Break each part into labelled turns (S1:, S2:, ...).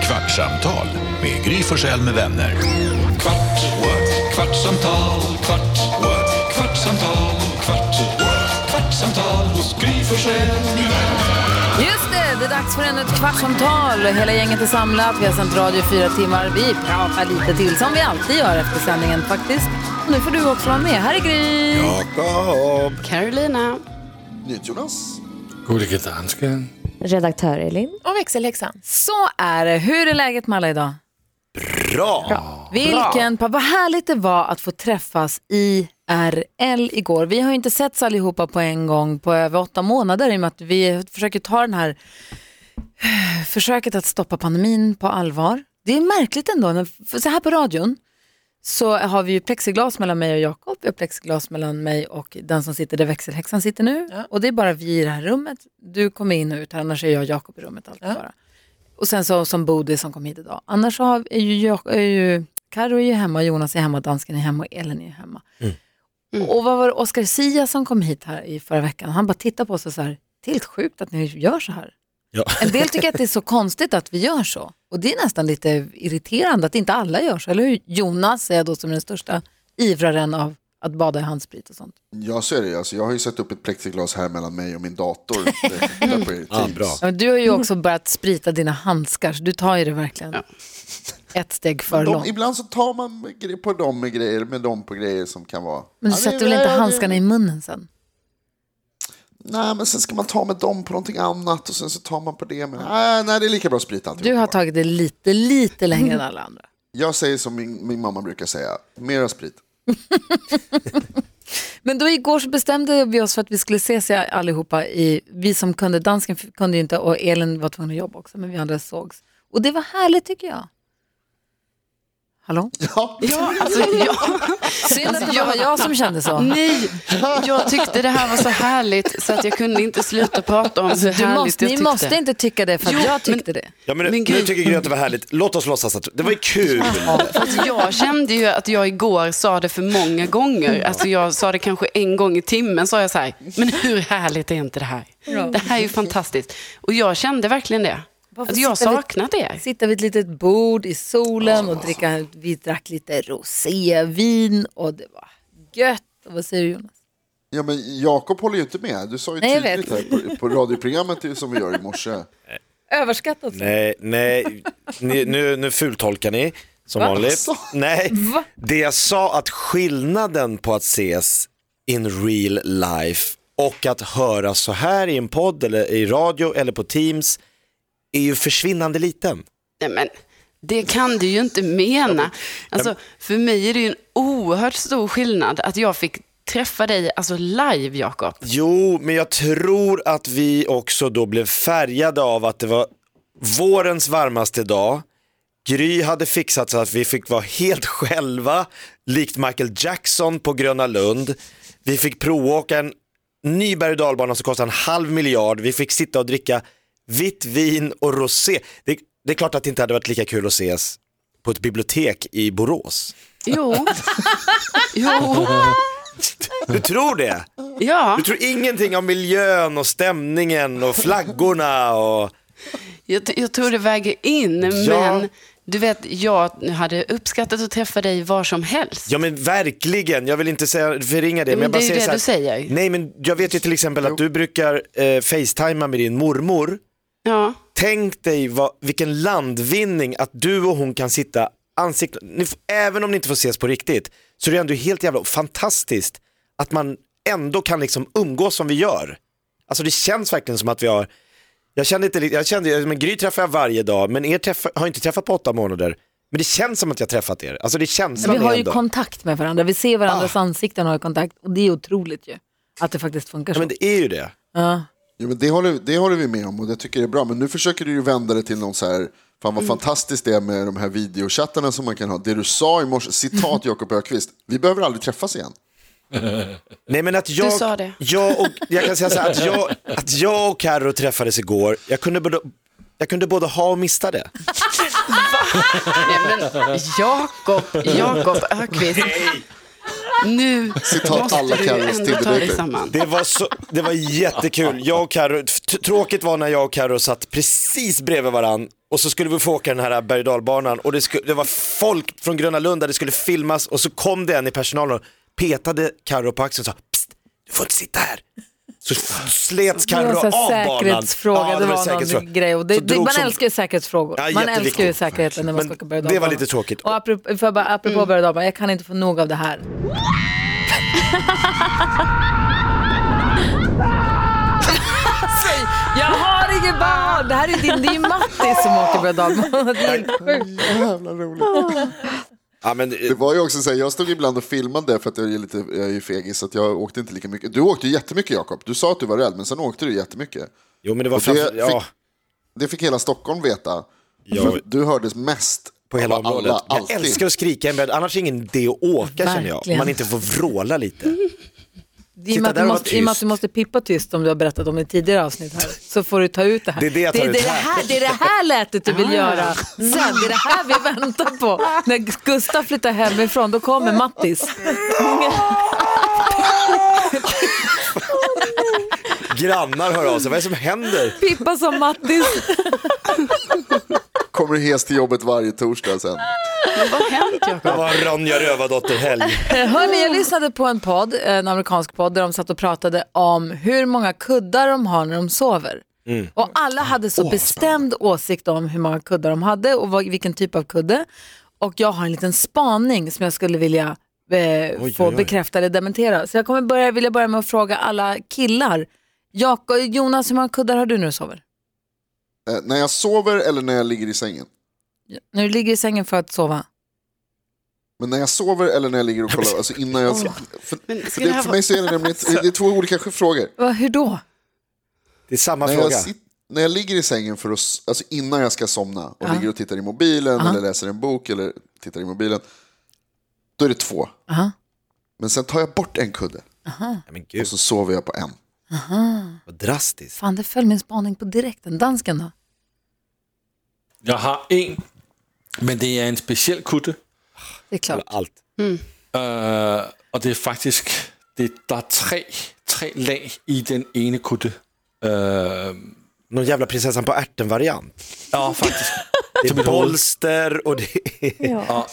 S1: Kvartsamtal med Gry Forssell med vänner. Kvart, what? kvartsamtal, kvart, what? kvartsamtal, kvart, what? kvartsamtal hos Gry Forssell med vänner.
S2: Just det, det är dags för ännu ett kvartsamtal. Hela gänget är samlat. Vi har sänt radio i fyra timmar. Vi pratar lite till, som vi alltid gör efter sändningen faktiskt. Och nu får du också vara med. Här är Gry.
S3: Jakob.
S4: Carolina.
S3: Jonas.
S5: Gullige dansken.
S6: Redaktör Elin.
S7: Och växelhäxan.
S2: Så är det. Hur är läget med alla idag?
S3: Bra.
S2: Vilken, pa- vad härligt det var att få träffas i RL igår. Vi har ju inte setts allihopa på en gång på över åtta månader i och med att vi försöker ta den här försöket att stoppa pandemin på allvar. Det är märkligt ändå, när, för så här på radion så har vi ju plexiglas mellan mig och Jakob, vi har plexiglas mellan mig och den som sitter där växelhäxan sitter nu. Och det är bara vi i det här rummet. Du kommer in och ut här, annars är jag och Jakob i rummet alltid bara. Och sen så som Bodil som kom hit idag. Annars så har, är ju, jag, är ju Karo är ju hemma, Jonas är hemma, dansken är hemma och Elin är hemma. Och vad var det Oscar Sia som kom hit här i förra veckan? Han bara tittade på oss och så här, det är helt sjukt att ni gör så här.
S5: Ja.
S2: En del tycker att det är så konstigt att vi gör så. Och det är nästan lite irriterande att inte alla gör så, eller hur? Jonas är då som är den största ivraren av att bada i handsprit och sånt.
S3: Jag ser det. Alltså, jag har ju satt upp ett plexiglas här mellan mig och min dator. Där på er
S5: Ja,
S3: Teams.
S5: bra.
S2: Ja, men du har ju också börjat sprita dina handskar, så du tar ju det verkligen ett steg för
S3: De,
S2: långt.
S3: ibland så tar man med gre- på dem med grejer, med dem på grejer som kan vara...
S2: Men du
S3: Ja,
S2: sätter
S3: det-
S2: väl inte
S3: ja, det-
S2: handskarna i munnen sen?
S3: Nej, men sen ska man ta med dem på någonting annat och sen så tar man på det med... Nej, nej det är lika bra att sprita alltihop.
S2: Du har tagit det lite, lite längre än alla andra.
S3: Jag säger som min, min mamma brukar säga, mera sprit.
S2: Men då igår så bestämde vi oss för att vi skulle ses i- allihopa. I, vi som kunde, dansken f- kunde ju inte och Elin var tvungen att jobba också, men vi andra sågs. Och det var härligt tycker jag. Hallå?
S3: Ja,
S4: Ja, alltså, jag,
S2: Synd att det var jag som kände så.
S4: nej, jag tyckte det här var så härligt så att jag kunde inte sluta prata om hur
S2: Alltså, Du
S4: härligt
S2: måste,
S4: jag
S2: ni
S4: tyckte.
S2: måste inte tycka det för att
S4: Jo,
S2: jag tyckte det.
S8: Ja, men nu,
S4: Men
S8: nu
S4: Gry-
S8: tycker Gry att det var härligt. Låt oss låtsas att det var ju kul.
S4: Fast jag kände ju att jag igår sa det för många
S2: Mm.
S4: gånger. Alltså jag sa det kanske en gång i timmen, sa jag så här, men hur härligt är inte det här? Det här är ju fantastiskt. Och jag kände verkligen det.
S2: Varför
S4: Att jag
S2: sitter vi-
S4: saknat er.
S2: Sitta vid ett litet bord i solen och dricka, vi drack lite rosévin och det var gött. Och vad säger du Jonas?
S3: ja men Jakob håller ju inte med. Du sa ju
S2: Nej, jag
S3: tydligt här på, på radioprogrammet som vi gör i morse.
S2: Överskattat.
S8: Nej, nej, ni, nu, nu fultolkar ni som vanligt.
S3: Asså?
S8: Nej, det jag sa att skillnaden på att ses in real life och att höra så här i en podd eller i radio eller på Teams är ju försvinnande liten.
S4: Nej, men det kan du ju inte mena. Alltså, för mig är det ju en oerhört stor skillnad att jag fick träffa dig alltså live, Jakob.
S8: Jo, men jag tror att vi också då blev färgade av att det var vårens varmaste dag. Gry hade fixat så att vi fick vara helt själva, likt Michael Jackson på Gröna Lund. Vi fick provåka en ny berg och dalbana som kostade en halv miljard. Vi fick sitta och dricka vitt vin och rosé. Det, det är klart att det inte hade varit lika kul att ses på ett bibliotek i Borås.
S4: Jo. jo.
S8: Du tror det?
S4: Ja,
S8: Du tror ingenting om miljön och stämningen och flaggorna och...
S4: jag, t- jag tror det väger in,
S8: Ja.
S4: men du vet, jag hade uppskattat att träffa dig var som helst.
S8: Ja men verkligen, jag vill inte säga, förringa det.
S4: Ja, men
S8: jag bara
S4: det är ju det
S8: så här-
S4: du säger.
S8: Nej men jag vet ju till exempel att du brukar eh, facetimea med din mormor.
S4: Ja.
S8: Tänk dig vad, vilken landvinning att du och hon kan sitta ansikte, ni, f- även om ni inte får ses på riktigt, så det är ändå helt jävla fantastiskt att man ändå kan liksom umgås som vi gör. Alltså det känns verkligen som att vi har, jag kände inte, li- jag kände, men Gry träffar jag varje dag, men er träffa, har jag inte träffat på åtta månader. Men det känns som att jag träffat er, alltså det känns
S2: Vi har ju kontakt med varandra, vi ser
S8: Ah.
S2: varandras ansikten och har kontakt och det är otroligt ju. Att det faktiskt funkar
S8: Ja,
S2: så.
S8: men det är ju det.
S3: Ja, men det, håller, det håller vi med om och det tycker jag är bra. Men nu försöker du ju vända det till någon så här, fan vad fantastiskt det är med de här videochattarna som man kan ha. Det du sa i morse, citat Jakob Ökvist, vi behöver aldrig träffas igen.
S8: Nej men att jag,
S4: sa det.
S8: Jag, och, jag kan säga så här, att jag, att jag och Carro träffades igår, jag kunde, både, jag kunde både ha och mista det.
S4: Nej, men Jakob, Jakob Ökvist. nu
S3: Citat alla
S4: måste du
S3: Carros
S4: ändå ta dig
S3: Tinder-dejter.
S4: samman.
S8: Det var, så, det var jättekul. Jag och Karo, t- tråkigt var när jag och Karo satt precis bredvid varann och så skulle vi få åka den här berg och och det, sku- det var folk från Gröna Lund där det skulle filmas och så kom det en i personalen och petade Karo på axeln och sa Psst, du får inte sitta här. Så f- slets
S2: Det var
S8: Karo av
S2: en sån
S8: banan.
S2: här säkerhetsfråga,
S8: Ja,
S2: det var,
S8: en säkerhetsfråga.
S2: någon grej. Och det,
S8: Så
S2: det,
S8: drog
S2: man
S8: som-
S2: älskar ju säkerhetsfrågor.
S8: Ja,
S2: man
S8: jätteviktigt.
S2: älskar ju säkerheten när man
S8: Men
S2: ska åka berg och
S8: det var
S2: dalbana.
S8: lite tråkigt.
S2: Och apropå, för bara, apropå berg och dalbana, jag kan inte få nog av det här. Säg, jag har inget barn! Det här är din, det är ju Matti som åker berg och dalbana. Det är helt sjukt.
S3: Jävla roligt.
S8: Ja, men, eh,
S3: Det var ju också så här, jag stod ibland och filmade för att jag är, lite, jag är ju fegis så att jag åkte inte lika mycket. Du åkte ju jättemycket Jakob, du sa att du var rädd men sen åkte du jättemycket.
S8: jo men det var
S3: Och det
S8: framför, ja,
S3: fick- Det fick hela Stockholm veta.
S8: Ja.
S3: För du hördes mest
S8: på hela
S3: av alla,
S8: området. jag
S3: alltid.
S8: älskar att skrika i en berg, annars är ingen idé att åka känner jag. Om
S2: Verkligen.
S8: man inte får vråla lite.
S2: I och med
S8: Titta,
S2: att
S8: där
S2: du
S8: var
S2: måste- i och med att du
S8: tyst.
S2: måste pippa tyst om du har berättat om det i tidigare avsnitt här, så får du ta ut det här.
S8: Det är det jag tar
S2: det,
S8: ut
S2: det,
S8: här. Ah.
S2: här, det är det här lätet du vill göra sen. Det är det här vi väntar på. När Gustav flyttar hemifrån, då kommer Mattis.
S8: Grannar hör av sig, vad är det som händer?
S2: Pippa som Mattis.
S3: Kommer hes till jobbet varje torsdag sen.
S4: Vad har hänt Jakob?
S8: Det var Ronja Rövardotter-helg.
S2: Hörni, jag lyssnade på en podd, en amerikansk podd, där de satt och pratade om hur många kuddar de har när de sover.
S8: Mm.
S2: Och alla hade så bestämd åsikt om hur många kuddar de hade och vad, vilken typ av kudde. Och jag har en liten spaning som jag skulle vilja eh, få
S8: oj, oj.
S2: bekräfta eller dementera. Så jag kommer börja, vilja börja med att fråga alla killar. Jakob, Jonas, hur många kuddar har du när du sover?
S3: Eh, när jag sover eller när jag ligger i sängen?
S2: När du ligger i sängen för att sova?
S3: Men när jag sover eller när jag ligger och kollar, alltså innan jag... För,
S4: Men
S3: för,
S4: skulle det
S3: det,
S4: här
S3: för mig så är det nämligen det är två olika frågor.
S2: Va, hur då?
S8: Det är samma
S3: När jag,
S8: fråga.
S3: sit, när jag ligger i sängen för att, s- alltså innan jag ska somna och ligger och tittar i mobilen eller läser en bok eller tittar i mobilen, då är det två.
S2: Aha.
S3: Men sen tar jag bort en kudde
S8: Nej, men gud,
S3: och så sover jag på en.
S8: vad drastiskt.
S2: Fan, det föll min spaning på direkten. Dansken då?
S5: Jeg har en, men det er en speciel kutte,
S2: Det är klart.
S8: Allt.
S5: øh, og det er faktisk, det, der er tre, tre lag i den ene kutte. Øh,
S8: Någon jävla prinsessan på ärten-variant.
S5: ja, faktisk.
S8: Det
S5: Till
S8: är
S5: mitt huvud.
S8: bolster och det är...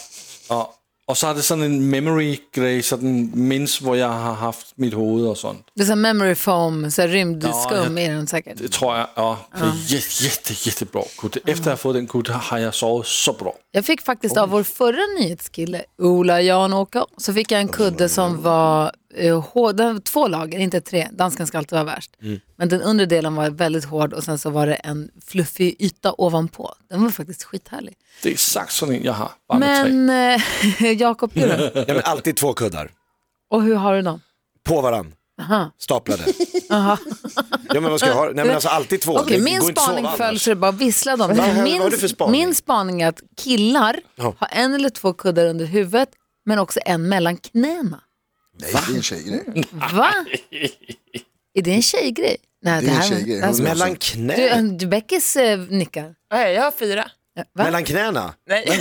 S5: Og, og så er det sådan en memory grey, sådan minds, hvor jeg har haft mit hoved och sånt.
S2: Det är så här memory foam, så här rymdskum
S5: Ja,
S2: är den säkert.
S5: Det tror jeg, ja, det er jætte, jætte, jættebra kutte. Efter jeg har fået den kutte, har jeg sovet så bra.
S2: Jag fick faktiskt av vår förra nyhetskille, Ola Janåker, så fick jag en kudde som var eh, hård, den var två lager, inte tre. Dansken ska alltid vara värst.
S8: Mm.
S2: Men den undre delen var väldigt hård och sen så var det en fluffig yta ovanpå. Den var faktiskt skithärlig.
S5: Det er exakt sådan en, jeg har, bare med tre.
S2: Men eh, Jakob, du då?
S8: Ja, men alltid två kuddar.
S2: Och hur har du dem?
S8: På varann. Staplade. Ja, men vad ska jag ha? Nej, men alltså alltid två.
S2: Okej,
S8: Det
S2: min
S8: går inte att sova
S2: spaning föll
S8: annars.
S2: så det bara visslade om
S8: Vad
S2: det.
S8: har- vad
S2: Min,
S8: har du för spaning?
S2: min spaning är att killar
S8: Ja.
S2: har en eller två kuddar under huvudet men också en mellan knäna.
S3: Nej, det är en tjejgrej.
S2: Va? Är det en tjejgrej? Nej,
S3: Det är en tjejgrej,
S2: det här- Alltså,
S3: 100%.
S8: Mellan
S2: Du,
S8: knä...
S2: en- du, Beckis eh, nickar.
S6: Nej, jag har fyra.
S2: Va?
S8: Mellan knäna?
S6: Nej.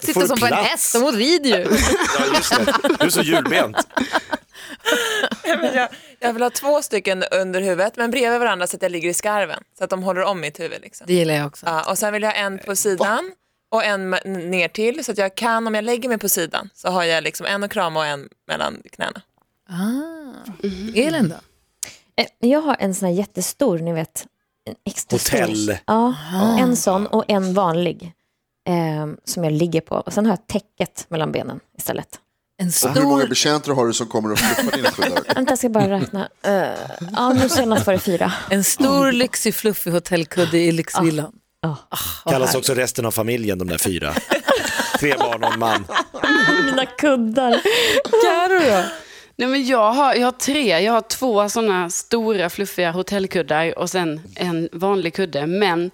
S2: Titta
S8: du
S2: som på en
S8: plats?
S2: häst, hon rider ju.
S8: Ja, just det. Du är så julbent.
S6: Men jag, jag vill ha två stycken under huvudet, men bredvid varandra så att jag ligger i skarven. Så att de håller om mitt huvud. Liksom.
S2: Det gillar jag också.
S6: Ja, och sen vill jag ha en
S8: Eh,
S6: på sidan och en med- n- ner till så att jag kan, om jag lägger mig på sidan, så har jag liksom en att krama och en mellan knäna.
S2: Elin då?
S7: Eh, Jag har en sån här jättestor, ni vet. En extra
S8: Hotell.
S7: Stor. Ja, en sån och en vanlig. Eh, som jag ligger på. Och sen har jag täcket mellan benen istället.
S2: En
S3: Och hur många
S2: stor...
S3: betjänter har du som kommer och fluffar dina kuddar?
S7: Vänta, jag ska bara räkna. Eh, ja, nu senast var det fyra.
S2: En stor lyxig fluffig hotellkudde i lyxvillan. Ah,
S7: Ja.
S2: Vad
S8: Kallas
S2: härligt.
S8: också resten av familjen, de där fyra. Tre barn och en man.
S7: Mina kuddar.
S2: Karo då?
S4: Nej, men jag, har, jag har tre. Jag har två sådana stora fluffiga hotellkuddar och sen en vanlig kudde. Men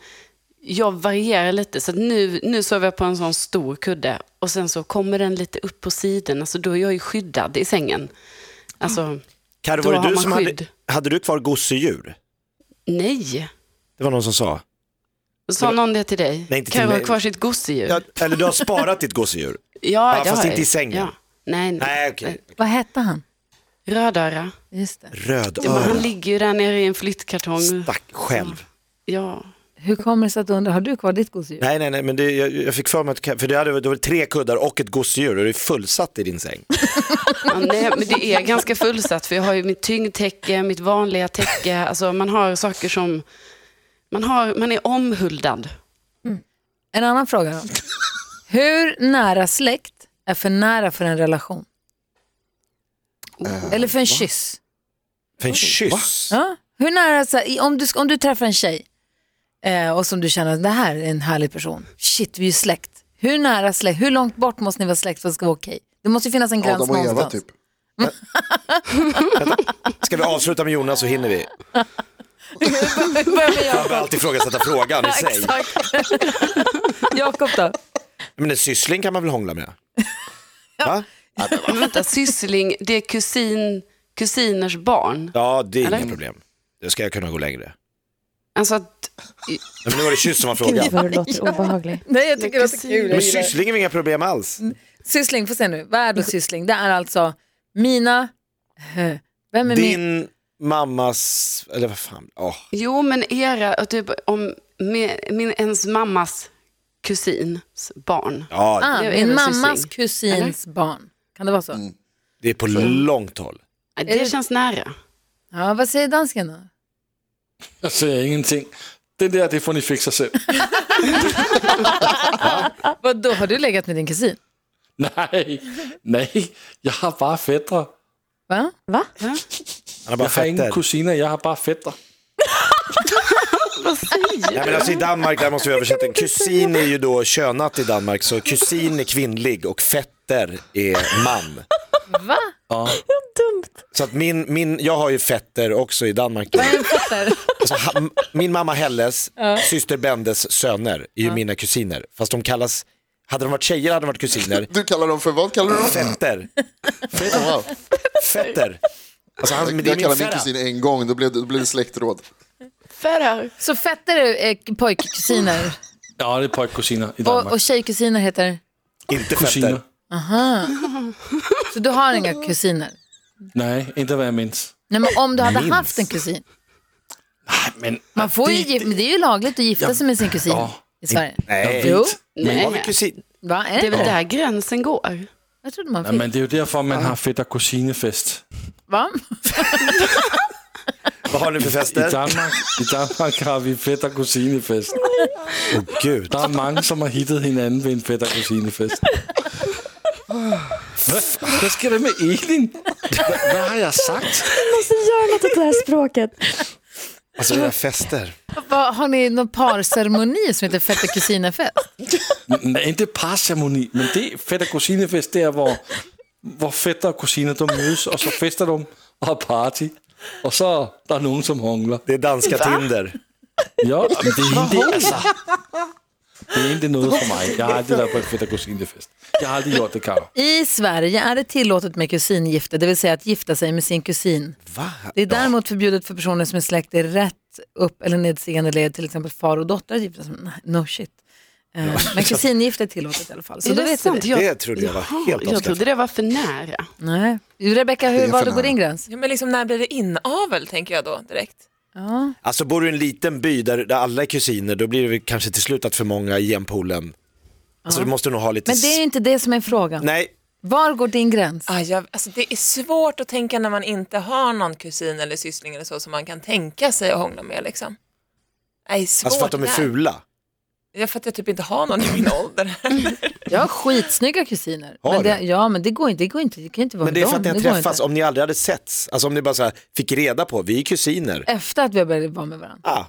S4: jag varierar lite. Så att nu, nu sover jag på en sån stor kudde och sen så kommer den lite upp på sidan. Alltså, då är jag ju skyddad i sängen. Alltså,
S8: Karo,
S4: Då
S8: var det
S4: har
S8: du
S4: man
S8: som hade,
S4: skydd.
S8: hade du kvar gosedjur?
S4: nej.
S8: Det var någon som sa.
S4: Sa någon det till dig?
S8: Nej, inte till
S4: kan jag
S8: mig.
S4: ha kvar sitt gosedjur?
S8: Ja, eller du har sparat ditt gosedjur.
S4: Ja,
S8: Ja,
S4: det
S8: fast
S4: har
S8: inte
S4: jag.
S8: i sängen.
S4: Ja. Nej, nej.
S8: Nej, okej.
S2: Vad hette han?
S4: Rödöra.
S2: Just det.
S4: Ja, men han
S8: Rödöra.
S4: ligger ju där nere i en flyttkartong.
S8: Stack själv.
S4: Ja.
S2: Hur kommer det sig att du undrar, har du kvar ditt gosedjur?
S8: Nej, nej, nej, men det, jag, jag fick för mig att för det, hade, det var tre kuddar och ett gosedjur och det är fullsatt i din säng.
S4: Ja, nej, men det är ganska fullsatt för jag har ju mitt tyngdtäcke, mitt vanliga täcke. Alltså man har saker som, man, har, man är omhuldad.
S2: En annan fråga. Hur nära släkt är för nära för en relation?
S3: Eh,
S2: Eller för en kyss?
S8: För en kyss.
S2: Ja? Hur nära, så här, i- om, du, ska- om du träffar en tjej eh, och som du känner att det här är en härlig person, shit vi är ju släkt. Hur nära släkt, hur långt bort måste ni vara släkt för att det ska vara okej? Det måste ju finnas en gräns
S3: Adam och Eva
S2: någonstans.
S3: typ.
S8: Ska vi avsluta med Jonas så hinner vi. Man behöver alltid ifrågasätta frågan i sig.
S2: Jakob då?
S8: Men en syssling kan man väl hångla med? Va?
S4: Men vänta, syssling, det är kusin, kusiners barn.
S8: Ja, det är inga
S4: Eller?
S8: problem. Då ska jag kunna gå längre.
S4: Alltså att,
S8: Nej, Men nu var det kyss som var
S7: Gud
S8: frågan.
S7: vad du låter obehaglig.
S2: Nej jag tycker det är
S4: Kusin.
S2: kul.
S8: Men syssling är väl inga problem alls?
S2: Syssling, får se nu. Vad är då syssling? Det är alltså mina, eh, vem är min?
S8: Din mammas, eller vad fan, åh.
S4: jo men era, och typ om med, min, ens mammas kusins barn.
S8: ja,
S2: Ah,
S4: Det är
S2: min
S4: väl
S2: mammas
S4: syssling.
S2: kusins barn. Kan det vara så?
S8: det är på långt håll.
S4: Det känns nära.
S2: Ja, vad säger dansken då?
S5: Jeg siger ingenting. Det der, det får ni fikse selv.
S2: Vadå, har du legat med din kusin?
S5: nej, nej. Jeg har bare fædre.
S2: Va?
S7: Va?
S8: Han har bara
S5: Jeg har ingen
S8: fetter.
S5: kusiner, jeg har bare fædre.
S8: Nej, men alltså I Danmark där måste vi översätta. Kusin är ju då könat i Danmark, så kusin är kvinnlig och fetter är man.
S2: Va?
S8: Så att min, min, jag har ju fetter också i Danmark. Alltså, ha, min mamma Helles, syster Bendes söner är ju mina kusiner. Fast de kallas, hade de varit tjejer hade de varit kusiner.
S3: Du kallar dem för, vad kallar du dem?
S8: Fetter,
S3: Wow.
S8: fetter. Alltså, han, men det är
S3: Jag
S8: min
S3: kallade min
S8: ferra.
S3: kusin en gång, då blev det, då blev det släktråd.
S4: Ferrar.
S2: Så fetter är eh, pojkkusiner
S5: Ja, det er pojkkusiner i Danmark.
S2: och, och tjejkusiner heter...
S8: Inte
S5: kusiner.
S8: fetter.
S2: Så du har inga kusiner?
S5: Nej, inte vad jag minns.
S2: Nej, men om du hade
S8: Minst.
S2: haft en kusin.
S5: Men,
S2: Man får ju, gif- men det är ju lagligt att gifta sig med sin kusin
S5: Ja.
S2: i Sverige.
S8: Nej.
S2: Jo,
S8: Har vi
S4: Nej,
S8: kusin?
S2: va? Är
S4: det
S2: det
S4: är väl
S2: det?
S4: där gränsen går.
S2: Jag trodde man
S5: ja,
S2: fick.
S5: men det är ju därför man har fætter kusinefest.
S2: Va?
S8: Vad har ni för
S5: I
S8: fester?
S5: Danmark, I Danmark har vi fætter kusinefest.
S8: Gud,
S5: Der er mange, som har hittet hinanden ved en fætter kusinefest. Hvad, hvad sker der med Elin? Hvad, hvad har jeg sagt?
S7: Måste göra något åt det här språket.
S8: alltså era fester.
S2: Va? Har ni någon parceremoni som heter fetta kusinefest?
S5: Nej, inte parceremoni, men det fætter kusinefest, det er, hvor, hvor fætter og kusiner de mødes, og så fester de og har party. Og så er der nogen, som hångler.
S8: Det är danska Tinder.
S5: Ja, men det er ikke altså. Det er ikke noget for mig. Jeg har aldrig været på et fætter kusinefest. Jeg har aldrig gjort det, Karo.
S2: I Sverige är det tillåtet med kusingifte, det vill säga att gifta sig med sin kusin. Det är däremot förbjudet för personer som är släkt i rätt upp eller nedstigande led, till exempel far och dotter att gifta sig. Nej, No shit. Eh, Men kusingifte är tillåtet i alla fall. Så då vet vi det.
S4: Jag,
S8: Det trodde jag var helt
S4: jag
S8: avskaffat.
S4: trodde det var för nära.
S2: Nej. Rebecka, hur var
S3: för
S2: det går
S3: nära.
S2: din gräns?
S6: Ja, men liksom, när blir det inavel, tänker jag då direkt.
S8: Alltså bor du i en liten by där, där alla är kusiner, då blir det väl kanske till slut att för många i jämpoolen. Alltså du måste nog ha lite...
S2: Men det är ju inte det som är frågan.
S8: Nej,
S2: Var går din gräns?
S6: Ah, jag, alltså, det är svårt att tänka när man inte har någon kusin eller syssling eller så som man kan tänka sig att hångla med. Liksom. Nej, svårt
S8: alltså för att de är
S6: där.
S8: fula.
S6: Ja, för att jag typ inte har någon i min ålder.
S2: Jag har skitsnygga kusiner.
S8: Har
S2: men det,
S8: du?
S2: ja, men det går inte. Det, går inte, det kan ju inte vara
S8: Men det är
S2: med
S8: för att ni
S2: dem.
S8: har
S2: går
S8: träffats,
S2: inte.
S8: om ni aldrig hade setts. Alltså om ni bara så här, fick reda på, vi är kusiner.
S2: Efter att vi har börjat vara med varandra.
S8: Ah,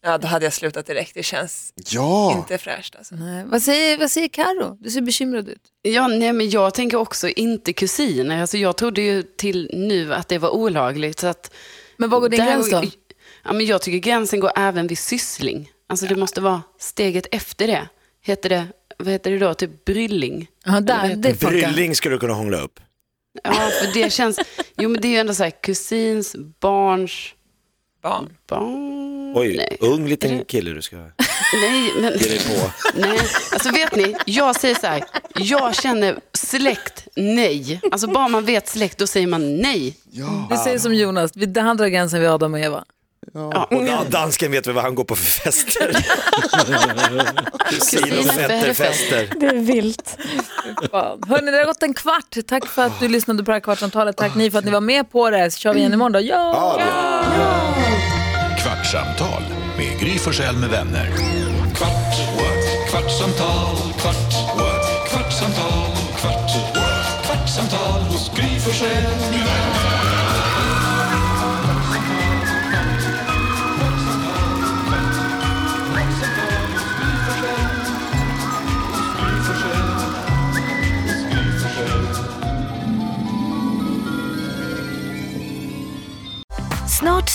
S6: Ja, då hade jag slutat direkt. Det känns
S3: Ja,
S6: inte fräscht. Alltså.
S2: Nej. Vad säger, vad säger Karo? Du ser bekymrad ut.
S4: Ja, nej, men jag tänker också inte kusiner. Alltså, jag trodde ju till nu att det var olagligt. Så att,
S2: Men var går din
S4: där-
S2: gräns då?
S4: Ja, men jag tycker gränsen går även vid syssling. Alltså det måste vara steget efter det. Heter det, vad heter det då? Typ brylling.
S2: Ja, där, det funkar.
S8: brylling skulle du kunna hångla upp.
S4: Ja, för det känns... Jo, men det är ju ändå så här kusins, barns,
S6: Barn.
S4: barn...
S8: Oj,
S4: Nej.
S8: ung liten kille du ska
S4: Nej, men...
S8: ge dig på.
S4: Nej, alltså vet ni, jag säger så här, jag känner Släkt, nej. Alltså bara man vet släkt, då säger man nej.
S2: Du säger som Jonas, vi- han drar gränsen vid Adam och Eva.
S8: Och ja, dansken vet väl vad han går på för fester.
S4: Kusiner för
S8: Sinofetterfester.
S9: Det är vilt.
S2: Hörni, det har gått en kvart. Tack för att du lyssnade på det här kvartsamtalet. Tack ni för att ni var med på det. Så kör vi igen imorgon då. Ja!
S1: Kvartsamtal med Gry Forssell med vänner. Kvart, what? kvartsamtal, kvart, what? kvartsamtal, kvart, what? kvartsamtal hos Gry Forssell med vänner.
S7: Snart